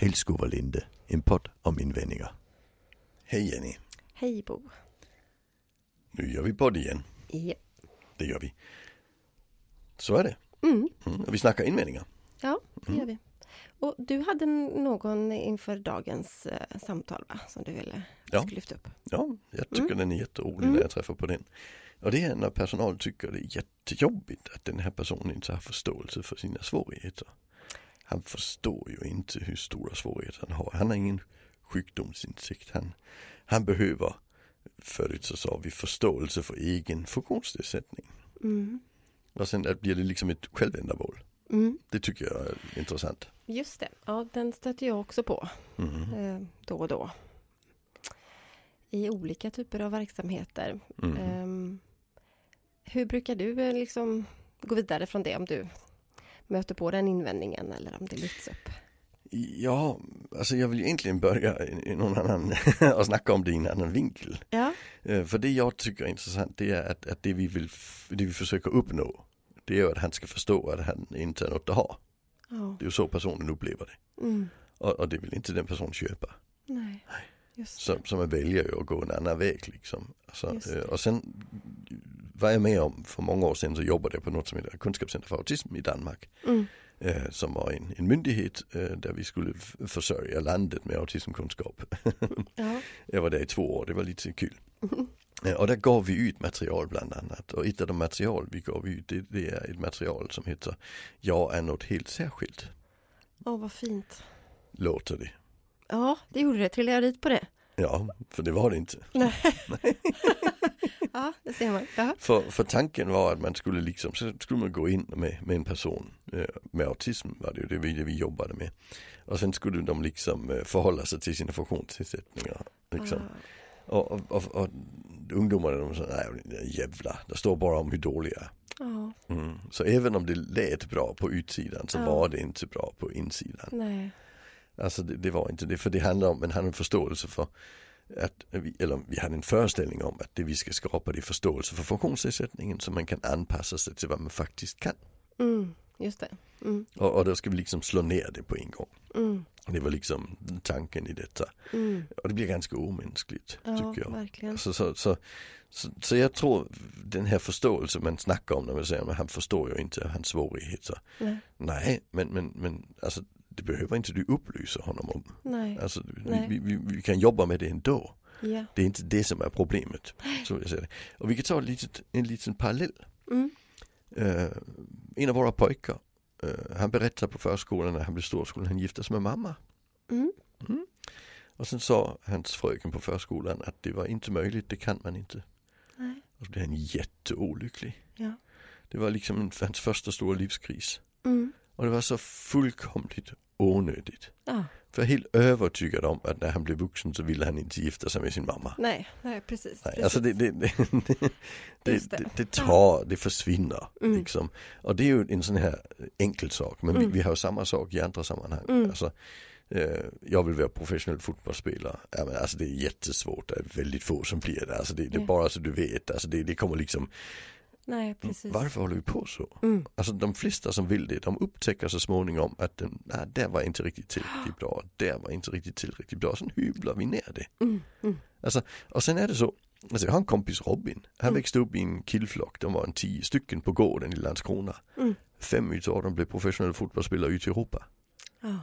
Ilsko var Linde, en podd om invändningar. Hej Jenny, Hej Bo. nu gör vi podd igen. Ja. Det gör vi. Så är det. Mm. Mm. Och vi snackar invändningar. Ja, det Mm. gör vi. Och du hade någon inför dagens eh, samtal va? Som du ville Ja. skulle lyfta upp. Ja, jag Mm. tycker den är jätterolig när jag träffar på den. Och det är när personal tycker det är jättejobbigt att den här personen inte har förståelse för sina svårigheter. Han förstår ju inte hur stora svårigheter han har. Han har ingen sjukdomsinsikt. Han, han behöver, förut så sa vi förståelse för egen funktionsnedsättning. Mm. Och sen att blir det liksom ett självändamål. Mm. Det tycker jag är intressant. Just det, ja den stöter jag också på Mm. eh, då och då. I olika typer av verksamheter. Mm. Ehm, hur brukar du eh, liksom gå vidare från det om du möter på den invändningen eller om det lyfts upp? Ja, alltså jag vill ju egentligen börja i i någon annan och snacka om det i en annan vinkel. Ja, Eh, För det jag tycker är intressant det är att, att det, vi vill, f- det vi försöker uppnå det är ju att han ska förstå att han inte är något att ha. ja. Det är ju så personen upplever det. Mm. Och, och det vill inte den personen köpa. nej, just det. Så, så man väljer ju att gå en annan väg liksom. Så, Just det. eh, och sen var jag med om, för många år sedan så jobbade jag på något som heter Kunskapscenter för autism i Danmark. Mm. eh, som var en, en myndighet eh, där vi skulle f- försörja landet med autismkunskap. Ja. jag var där i två år, det var lite kul. Eh, och där gav vi ut material bland annat och ett av de material vi gav ut det, det är ett material som heter Jag är något helt särskilt, Åh, vad fint. låter det. Ja, det gjorde det. Trillade jag dit på det? Ja, för det var det inte. Ja, det ser man. Ja. För, för tanken var att man skulle liksom, så skulle man gå in med, med en person eh, med autism var det ju det vi, det vi jobbade med. Och sen skulle de liksom eh, förhålla sig till sina funktionsnedsättningar. Liksom. Ah. Och, och, och, och ungdomarna de sa, nej men jävlar, det står bara om hur dåliga jag är." Ja, mm. Så även om det lät bra på utsidan så Ja. var det inte bra på insidan. nej. Alltså det, det var inte det, för det handlar om, men han har en förståelse för att vi, eller vi hade en föreställning om att det vi ska skapa det är förståelse för funktionsnedsättningen så man kan anpassa sig till vad man faktiskt kan. Mm, just det. Mm, Och, och då ska vi liksom slå ner det på en gång. mm, Det var liksom tanken i detta. mm. Och det blir ganska omänskligt Ja, tycker jag. verkligen. Så, så, så, så, så jag tror den här förståelsen man snackar om när man säger att han förstår ju inte hans svårigheter. Nej, Nej, men, men, men alltså, det behöver inte du upplysa honom om. nej. Alltså, vi- Nej. vi, vi, vi kan jobba med det ändå. Ja. Det är inte det som är problemet. Så vill jag säga det. Och vi kan ta ett litet, en liten parallell. Mm, Eh, en av våra pojkar, eh, han berättade på förskolan när han blev storskolan, han gifte sig med mamma. mm. Och sen sa hans fröken på förskolan att det var inte möjligt, det kan man inte. Nej, Och så blev han jätteolycklig. ja. Det var liksom en- hans första stora livskris. Mm. Och det var så fullkomligt onödigt. Ja, För jag är helt övertygad om att när han blev vuxen så ville han inte gifta sig med sin mamma. nej, nej, precis. Nej, precis. alltså det, det, det, det, det, Just det. det, tar, det försvinner. Mm. Liksom. Och det är ju en sån här enkel sak. Men vi, vi har ju samma sak i andra sammanhang. Mm. Alltså, eh, jag vill vara professionell fotbollsspelare. Ja, men alltså det är jättesvårt, det är väldigt få som blir det. Alltså det, det är Ja. bara så du vet, alltså det, det kommer liksom, Nej, precis. Mm, varför håller vi på så? Mm. Alltså de flesta som vill det, de upptäcker så småningom att den, nej, där var inte riktigt tillräckligt bra, där var inte riktigt tillräckligt bra. Sen hyvlar vi ner det. Mm. Mm. Alltså, och sen är det så, alltså jag har en kompis Robin, han Mm. växte upp i en killflock, de var en tio stycken på gården i Landskrona. Mm. Fem utav dem blev professionella fotbollsspelare ute i Europa. Ja,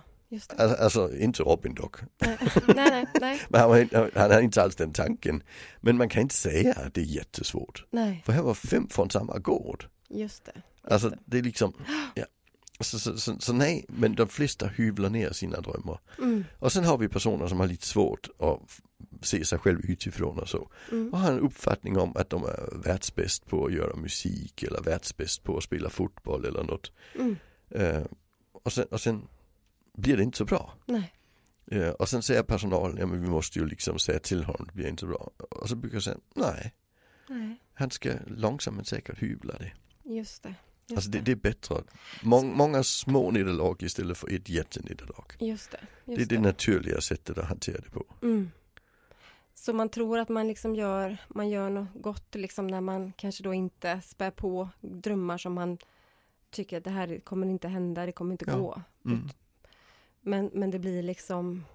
just det. Alltså, alltså inte Robin dock, Nej, nej, nej, nej. men han, var, han hade inte alls den tanken. Men man kan inte säga att det är jättesvårt, nej. för här var fem från samma gård. Just det. Alltså det är liksom, ja. Så, så, så, så nej, men de flesta hyvlar ner sina drömmar. Mm. Och sen har vi personer som har lite svårt att f- se sig själv utifrån och så. Mm. Och har en uppfattning om att de är världsbäst på att göra musik eller världsbäst på att spela fotboll eller något. Mm. Eh, och, sen, och sen blir det inte så bra. Nej. Eh, och sen säger personalen, ja men vi måste ju liksom säga till honom, det blir inte bra. Och så brukar jag säga, nej, nej, han ska långsamt men säkert hyvla det. just det. Just Alltså det, det är bättre. Mång, många små nederlag istället för ett jättenederlag. Just det. Just Det är det naturliga sättet att hantera det på. Mm. Så man tror att man liksom gör, man gör något gott liksom när man kanske då inte spär på drömmar som man tycker att det här kommer inte hända, det kommer inte Ja. gå. Mm. Men, men det blir liksom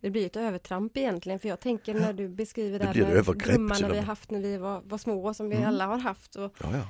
det blir ett övertramp egentligen för jag tänker när du beskriver blir det ett här med övergrepp till drömmarna och vi med. haft när vi var, var små som vi Mm. alla har haft och Ja, ja.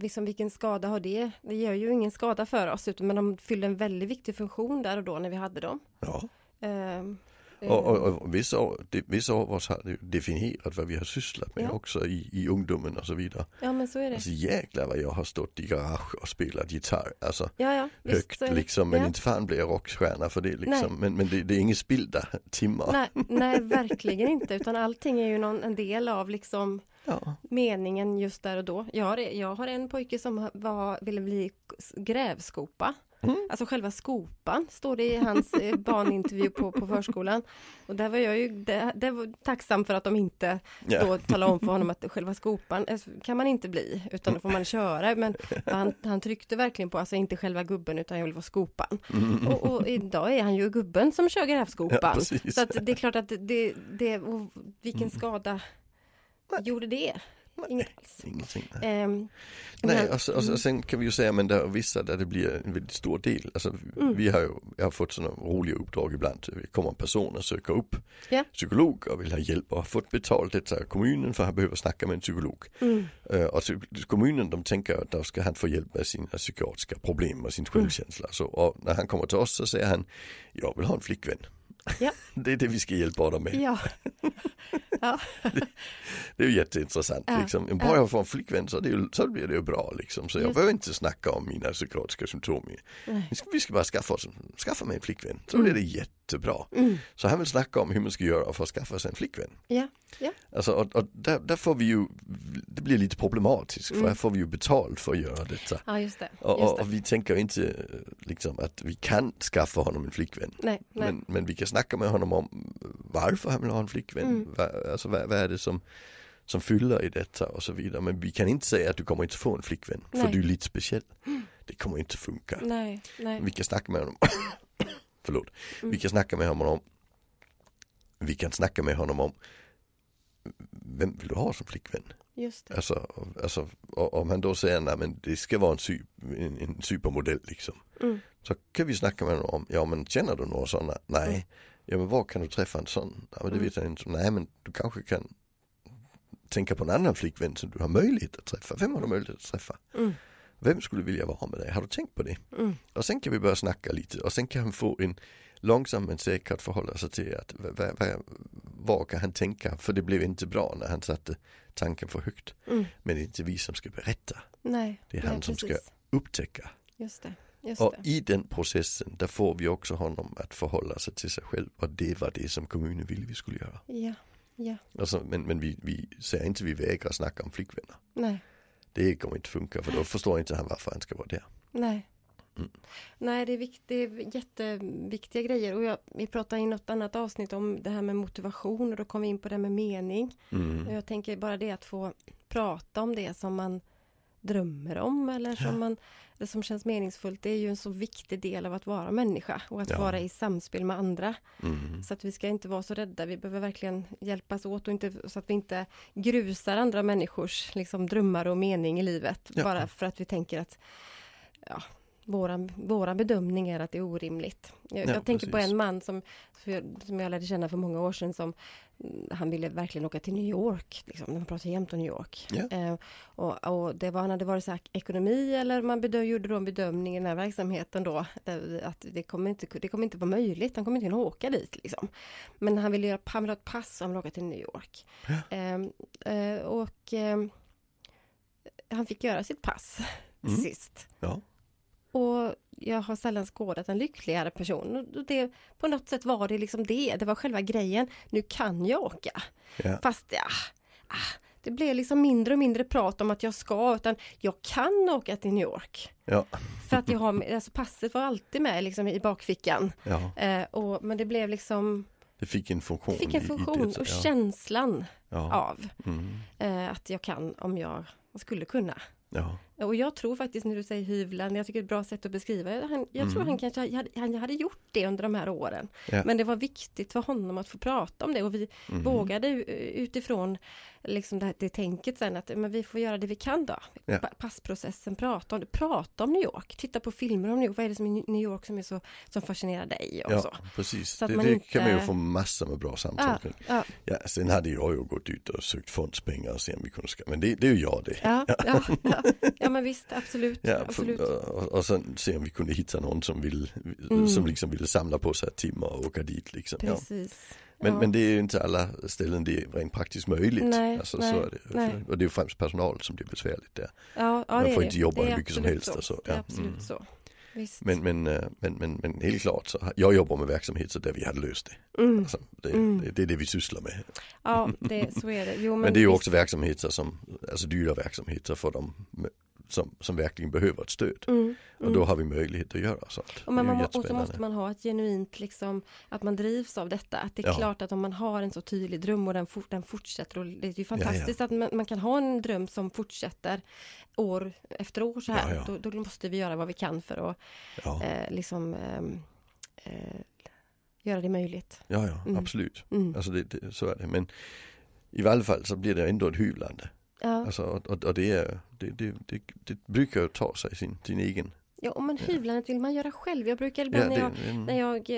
liksom vilken skada har det? Det gör ju ingen skada för oss utan men de fyllde en väldigt viktig funktion där och då när vi hade dem. ja. Ehm, Och, och, och vissa, av, de, vissa av oss har ju definierat vad vi har sysslat med Ja. också i, i ungdomen och så vidare. Ja men så är det. Alltså jäklar vad jag har stått i garage och spelat gitarr. Alltså Ja ja, högt så är det. liksom. Men Ja. inte fan blir jag rockstjärna för det liksom. Nej. Men, men det, det är inget spillda timmar. Nej, nej, verkligen inte, utan allting är ju någon, en del av liksom Ja. meningen just där och då. Jag har, jag har en pojke som var, ville bli grävskopa. Mm. Alltså själva skopan, står det i hans eh, barnintervju på, på förskolan. Och där var jag ju där, där var tacksam för att de inte Ja. då talade om för honom att själva skopan eh, kan man inte bli, utan då får man köra. Men han, han tryckte verkligen på, alltså inte själva gubben, utan jag vill vara skopan. Och, och idag är han ju gubben som kör Mm. Ja, grävskopan. precis. Mm. så att det är klart att det, det och vilken skada gjorde det? Inget alls. Ingenting. Ehm, Nej, men- och, så, och, så, sen kan vi ju säga men där är vissa där det blir en väldigt stor del. Alltså, Vi har ju jag har fått sådana roliga uppdrag ibland. Så vi kommer en person och söker upp Ja. psykolog och vill ha hjälp och har fått betalt detta av kommunen för han behöver snacka med en psykolog. Eh, och så, kommunen de tänker att då ska han få hjälp med sina psykiatriska problem och sin självkänsla. Så, och när han kommer till oss så säger han jag vill ha en flickvän. Ja. det är det vi ska hjälpa honom med. ja. ja. Det är ju jätteintressant. Ja, Liksom. Bara jag får en flickvän så, det är ju, så blir det ju bra. Liksom. Så jag Just. behöver inte snacka om mina psykotiska symptom. Vi ska, vi ska bara skaffa, oss, skaffa mig en flickvän. Så Mm. blir det jättebra. Så han vill snacka om hur man ska göra för att skaffa sig en flickvän. ja. ja. Alltså, och, och där, där får vi ju, det blir lite problematiskt för här får vi ju betalt för att göra detta. Ja, just det. Och, Mm. Just och, det. och vi tänker ju inte eh, liksom, att vi kan skaffa honom en flickvän. Nej, nej. Men, men vi kan snacka med honom om varför han vill ha en flickvän. Mm. Va, alltså, vad, vad är det som, som fyller i detta och så vidare. Men vi kan inte säga att du kommer inte få en flickvän för Nej. du är lite speciell. Det kommer inte funka. nej, nej. Vi kan snacka med honom. Förlåt. Mm. Vi kan snacka med honom om. Vi kan snacka med honom om. Vem vill du ha som flickvän? Just det. Alltså, alltså och- om han då säger nej men det ska vara en, sy, en, en supermodell liksom. Mm. Så kan vi snacka med honom om, ja men känner du några sådana? Nej. Mm. Ja men var kan du träffa en sån? Ja men det vet jag inte. Nej men du kanske kan tänka på en annan flickvän som du har möjlighet att träffa. Vem har du möjlighet att träffa? Mm. Vem skulle vilja vara med dig? Har du tänkt på det? Mm. Och sen kan vi börja snacka lite och sen kan han få en långsam men säkert förhålla sig till att vad, vad, vad, vad kan han tänka? För det blev inte bra när han satte tanken för högt. Mm. Men det är inte vi som ska berätta, Nej. det är nej, han som ska- precis. upptäcka. Just det. Just Och det. i den processen där får vi också honom att förhålla sig till sig själv och det var det som kommunen ville vi skulle göra. Ja, ja. Alltså, men men vi, vi säger inte vi vägrar snacka om flickvänner. Nej, Det kommer inte funka för då förstår inte han varför han ska vara där. nej. Mm. Nej, det är, vikt, det är jätteviktiga grejer. Och jag, vi pratade i något annat avsnitt om det här med motivation och då kom vi in på det här med mening. Och Mm. jag tänker bara det att få prata om det som man drömmer om eller som, Ja. man, det som känns meningsfullt. Det är ju en så viktig del av att vara människa och att Ja. vara i samspel med andra. Mm. Så att vi ska inte vara så rädda. Vi behöver verkligen hjälpas åt och inte, så att vi inte grusar andra människors liksom, drömmar och mening i livet. Ja. Bara för att vi tänker att ja, våran, våran bedömning är att det är orimligt. Jag, Ja, jag tänker på precis. en man som, som jag- som jag lärde känna för många år sedan som mm, han ville verkligen åka till New York. Liksom. Man pratar jämt om New York. Ja. Eh, och, och det var, han hade varit så här, ekonomi eller man bedö, gjorde då en bedömning i den här verksamheten då. Där, att det kommer, inte, det kommer inte vara möjligt, han kommer inte kunna åka dit liksom. Men han ville, göra, han ville ha ett pass och han ville åka till New York. Ehm, eh, och ehm, han fick göra sitt pass till Mm. sist. Ja. Och jag har sällan skådat en lyckligare person. Och det, på något sätt var det liksom det, det var själva grejen. Nu kan jag åka. Ja. Fast ja, ah, det blev liksom mindre och mindre prat om att jag ska, utan jag kan åka till New York. Ja. För att jag har, med- alltså passet var alltid med liksom i bakfickan. ja, Eh, och, men det blev liksom, det fick en det funktion. fick i- en i funktion detta. och Ja. känslan Ja. av Mm. eh, att jag kan om jag skulle kunna. Ja. Och jag tror faktiskt när du säger hyvlande, jag tycker det är ett bra sätt att beskriva det. Han, jag tror Mm. han kanske hade- han hade gjort det under de här åren. Ja. Men det var viktigt för honom att få prata om det och vi Mhm. vågade ju, eh, utifrån liksom det, här, det tänket sen att eh, men vi får göra det vi kan då. Ja. Pa- Passprocessen, prata om det, prata om New York, titta på filmer om New York, vad är det som i New York som är så som fascinerar dig och så. Ja, precis. Så att det man det inte- kan man ju få massor med bra samtal Ja, kring. ja, Ja, sen hade jag ju gått ut och sökt fondspengar och se om vi kunde skaffa, men det, det är ju jag det. ja, ja, ja, ja men visst, absolut. Ja, absolut. Och, och sen se om vi kunde hitta någon som, vill, Mm. som liksom ville samla på sig timmar och åka dit liksom. Ja. Precis. Men, Ja. men det är ju inte alla ställen det är rent praktiskt möjligt. Nej, alltså, nej, så är det. nej. Och det är ju främst personal som blir besvärligt där. Ja, ja, Man det är får det. inte jobba Det är hur mycket som absolut helst och så, Det är ja. absolut Mm. så. Visst. Men, men, eh, men, men, men helt klart, så har- jag jobbar med verksamheter där vi hade löst det. mm. Alltså, det, Mm. det. Det är det vi sysslar med. Ja, det, så är det. Jo, men, Men det är ju visst. också verksamheter som, alltså dyra verksamheter för dem som, som verkligen behöver ett stöd. Mm, Och mm. då har vi möjlighet att göra sånt. Och, man, det är man, ju och så måste jättespännande. man ha ett genuint, liksom, att man drivs av detta. Att det är Ja. klart att om man har en så tydlig dröm och den, for, den fortsätter, och det är ju fantastiskt att man, man kan ha en dröm som fortsätter år efter år så här. Ja, ja. Då, då måste vi göra vad vi kan för att Ja, eh, liksom, ehm, eh, göra det möjligt. ja, ja Mm. absolut. Mm. Alltså det, det, så är det. Men i varje fall så blir det ändå ett hyvlande. Ja. Alltså, och, och- och det, är, det, det, det, det brukar ju ta sig sin, sin egen. Ja, och men hyvlandet vill man göra själv. Jag brukar Ja, ibland när jag det, en, När jag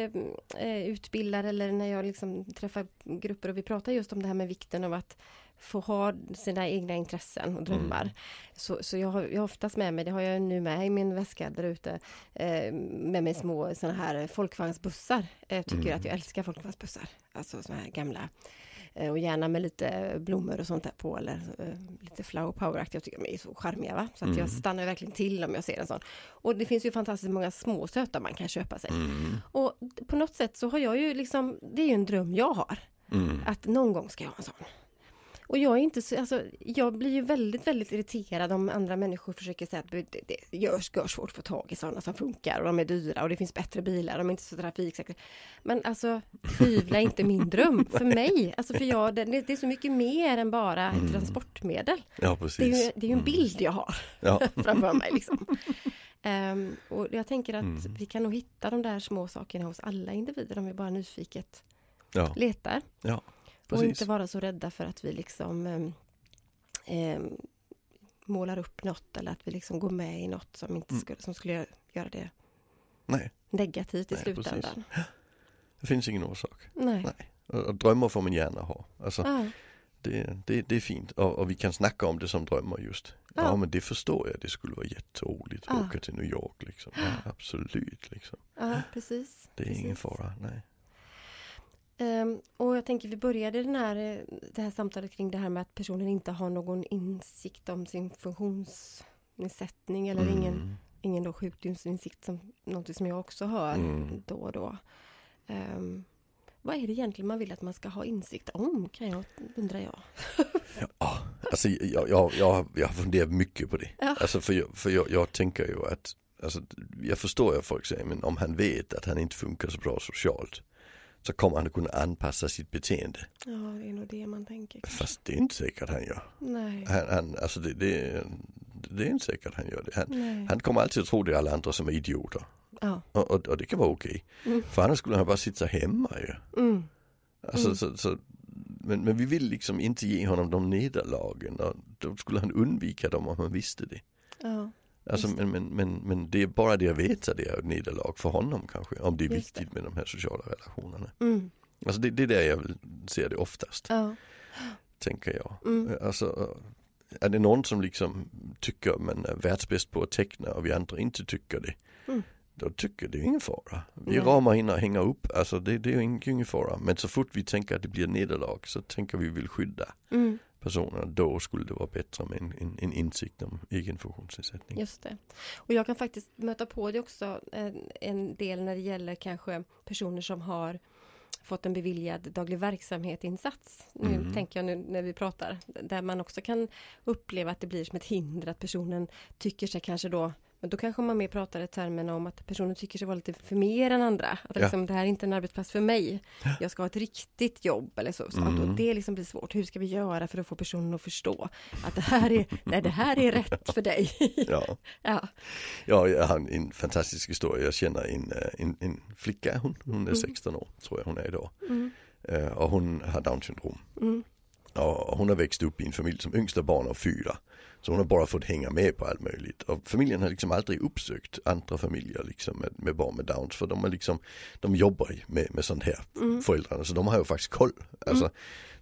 eh, eh, utbildar eller när jag liksom träffar grupper och vi pratar just om det här med vikten av att få ha sina egna intressen och drömmar. Mm. Så, så jag, har, jag har oftast med mig, det har jag ju nu med i min väska där ute, eh, med mig små sådana här folkvagnsbussar. Jag tycker Mm. att jag älskar folkvagnsbussar, alltså sådana här gamla. Eh, och gärna med lite blommor och sånt där på eller eh, lite flower power Jag tycker de är så charmiga va? Så att Mm. jag stannar ju verkligen till om jag ser en sån. Och det finns ju fantastiskt många små söta man kan köpa sig. mm, Och d- på något sätt så har jag ju liksom, det är ju en dröm jag har, mm, att någon gång ska jag ha en sån. Och jag är inte så, alltså, jag blir ju väldigt, väldigt irriterad om andra människor försöker säga att det, det görs, görs svårt att få tag i sådana som funkar och de är dyra och det finns bättre bilar, de är inte så trafiksäkra. Men alltså, hyvla inte min dröm för mig. Alltså för jag, det, det är så mycket mer än bara ett Mm. transportmedel. ja, Det är precis. ju, det är ju en Mm. bild jag har Ja, framför mig. Liksom. Ehm, och jag tänker att Mm. vi kan nog hitta de där små sakerna hos alla individer om vi bara nyfiket ja, letar. Och precis. inte vara så rädda för att vi liksom ehm, ehm, målar upp något eller att vi liksom går med i något som, inte Mm. skulle, som skulle gö- göra det Nej, negativt i Nej, precis. slutändan. det finns ingen orsak. Nej. Nej. Och, och drömmar får man gärna ha. Alltså, Ja, Det, det, det är fint och, och vi kan snacka om det som drömmar just. Ja. Ja. Ah. men det förstår jag, det skulle vara jätteroligt att Ja. åka till New York liksom. Ja, absolut liksom. ja, precis. Det är ingen Precis. fara, nej. Ehm, och jag tänker vi började den här, eh, det här samtalet kring det här med att personen inte har någon insikt om sin funktionsnedsättning eller ingen Mm. ingen då sjukdomsinsikt som någonting som jag också hör Mm. då och då. Ehm, vad är det egentligen man vill att man ska ha insikt om kan jag undra jag. Ja, alltså jag, jag, jag, har- jag har funderat mycket på det. Ja. Alltså för jag, för jag, jag tänker ju att, alltså, jag förstår ju folk säger, men om han vet att han inte funkar så bra socialt så kommer han att kunna anpassa sitt beteende. Ja, det är nog det man tänker. Fast det är inte säkert han gör. Nej. Han, han, alltså det, det, det är inte säkert han gör det. Han, Nej. han kommer alltid att tro det är alla andra som är idioter. Ja. Och, och, och det kan vara okej. Mm. För annars skulle han bara sitta hemma ju. Mm. Alltså, Mm. så, så, men, men vi vill liksom inte ge honom de nederlagen och då skulle han undvika dem om han visste det. Ja. Alltså, Just men, men, men, men det är bara det att veta det är ett nederlag för honom kanske. Om det är Just viktigt med de här sociala relationerna. Mm. Alltså det, det är där jag vill se det oftast, Ja. tänker jag. Mm. Alltså, är det någon som liksom tycker man är världsbäst på att teckna och vi andra inte tycker det. Mm. Då tycker det är ingen fara. Vi Nej. ramar in och hänger upp, alltså det, det är ju ingen, ingen fara. Men så fort vi tänker att det blir nederlag så tänker vi vill skydda Mm. personerna. Då skulle det vara bättre med en, en, en insikt om egen funktionsnedsättning. Just det. Och jag kan faktiskt möta på det också en, en del när det gäller kanske personer som har fått en beviljad daglig verksamhet-insats. Nu Mm. tänker jag nu när vi pratar, där man också kan uppleva att det blir som ett hinder att personen tycker sig kanske då Men då kanske man mer pratar i termerna om att personen tycker sig vara lite för mer än andra. Att Ja. liksom, det här är inte en arbetsplats för mig. Jag ska ha ett riktigt jobb eller så. så att, Mm. och det liksom blir svårt. Hur ska vi göra för att få personen att förstå att det här är, nej, det här är rätt för dig. Ja. ja. Ja, jag har en fantastisk historia. Jag känner en, eh, en, en flicka, hon, hon är 16 år tror jag hon är idag. Eh, Och hon har down syndrom. Och hon har växt upp i en familj som yngsta barn av fyra. Så hon har bara fått hänga med på allt möjligt. Och familjen har liksom aldrig uppsökt andra familjer liksom med, med barn med downs. För de, är liksom, de jobbar ju med, med sånt här, föräldrarna. Så de har ju faktiskt koll. Alltså,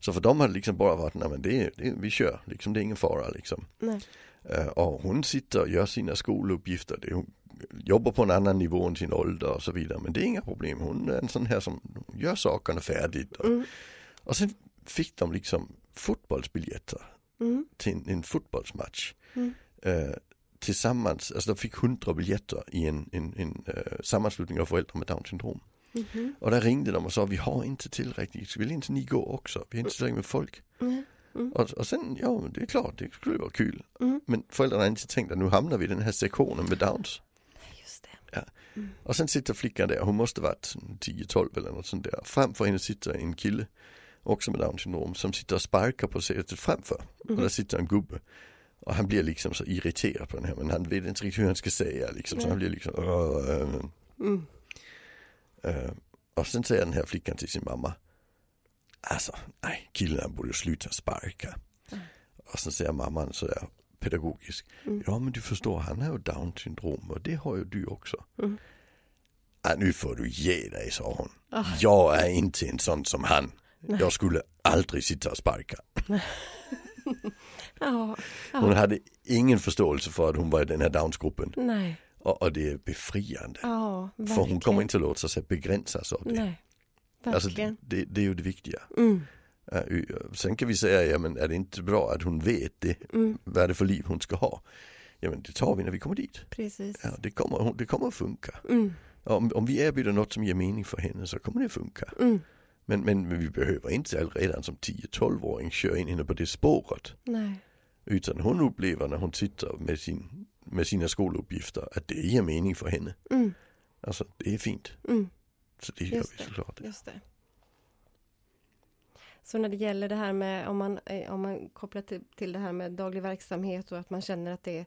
Så för dem har det liksom bara varit, nej men det, är- det, är- vi kör, liksom, det är ingen fara liksom. Nej. Eh, Och hon sitter och gör sina skoluppgifter. Det- Hon jobbar på en annan nivå än sin ålder och så vidare. Men det är inga problem. Hon är en sån här som gör sakerna färdigt. Och, och sen fick de liksom fotbollsbiljetter Mm. till en, en fotbollsmatch. Eh, tillsammans, alltså de fick hundra biljetter i en, en, en eh, sammanslutning av föräldrar med down syndrom. Mhm. Och där ringde de och sa vi har inte tillräckligt, vill inte ni gå också? Vi har inte tillräckligt med folk. Nej. Och, och sen, ja men det är klart, det skulle vara kul. Mm. Men föräldrarna har inte tänkt att nu hamnar vi i den här sektionen med Downs. Just det. Och sen sitter flickan där, hon måste varit 10-12 eller något sånt där. Framför henne sitter en kille, också med Downs syndrom, som sitter och sparkar på sätet framför. Och där sitter en gubbe. Och han blir liksom så irriterad på den här, men han vet inte riktigt hur han ska säga liksom. Så han blir liksom, "Åh, äh, äh." Mm. Eh, och sen säger den här flickan till sin mamma. Alltså, nej, killen han borde sluta sparka. Och sen säger mamman sådär pedagogisk. Ja, men du förstår, han har ju down syndrom och det har ju du också. "Ah, nu får du ge dig, sa hon. Jag är inte en sån som han. Jag skulle aldrig sitta och sparka. Ja, Hon hade ingen förståelse för att hon var i den här downsgruppen. nej. Och, och det är befriande. Ja, verkligen. för hon kommer inte att låta sig begränsas av det. Nej, Alltså, verkligen. det, det, det är ju det viktiga. Mm. Ja, u- Sen kan vi säga, ja men är det inte bra att hon vet det, Mm. vad är det för liv hon ska ha? Ja men det tar vi när vi kommer dit. Precis. Ja, det, kommer, hon- det kommer att funka. Mm. Om, om vi erbjuder något som ger mening för henne så kommer det att funka. Mm. Men, men, men vi behöver inte redan som 10-12-åring köra in henne på det spåret. Nej. Utan hon upplever när hon sitter med, sin, med sina skoluppgifter att det ger mening för henne. Mm. Alltså det är fint. Mm. Så det Just gör vi såklart. Just det. Så när det gäller det här med om man, eh, om man kopplar till, till det här med daglig verksamhet och att man känner att det är,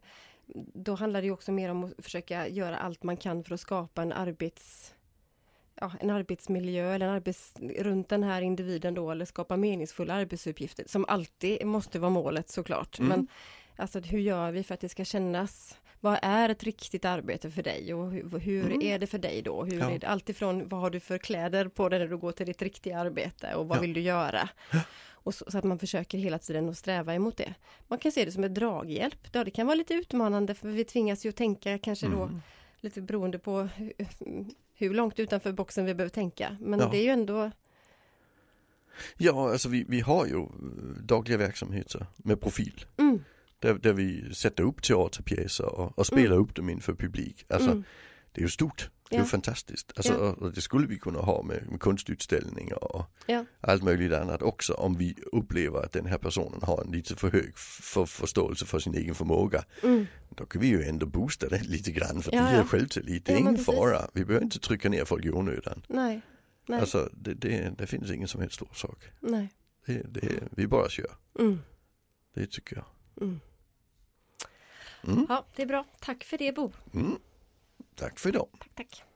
då handlar det ju också mer om att försöka göra allt man kan för att skapa en arbets Ja, en arbetsmiljö eller en arbets, runt den här individen då eller skapa meningsfulla arbetsuppgifter som alltid måste vara målet såklart. Men alltså hur gör vi för att det ska kännas? Vad är ett riktigt arbete för dig och hur, hur är det för dig då? Hur Ja. är det, alltifrån vad har du för kläder på dig när du går till ditt riktiga arbete och vad Ja. vill du göra? Och så, så att man försöker hela tiden att sträva emot det. Man kan se det som ett draghjälp. Ja, det kan vara lite utmanande för vi tvingas ju att tänka kanske då lite beroende på hur, hur långt utanför boxen vi behöver tänka. Men Ja. det är ju ändå, Ja, alltså vi, vi har ju eh, dagliga verksamheter med profil. Mm. Där, där vi sätter upp teaterpjäser och, och spelar upp dem inför publik. Alltså, Det är ju stort, det är Mm. Ja. ju fantastiskt. Alltså, Ja. och, och det skulle vi kunna ha med, med konstutställningar och ja, allt möjligt annat också. Om vi upplever att den här personen har en lite för hög f- för förståelse för sin egen förmåga. mm, Då kan vi ju ändå boosta den lite grann för Ja, det är ja. självtillit. Det är Ja, men ingen precis. fara, vi behöver inte trycka ner folk i onödan. nej, nej, Alltså, det, det, det finns ingen som helst stor sak. nej. Det, det, vi bara kör. Mm. Det tycker jag. Ja, det är bra. Tack för det Bo. Mm. Tack för idag. Tack, tack.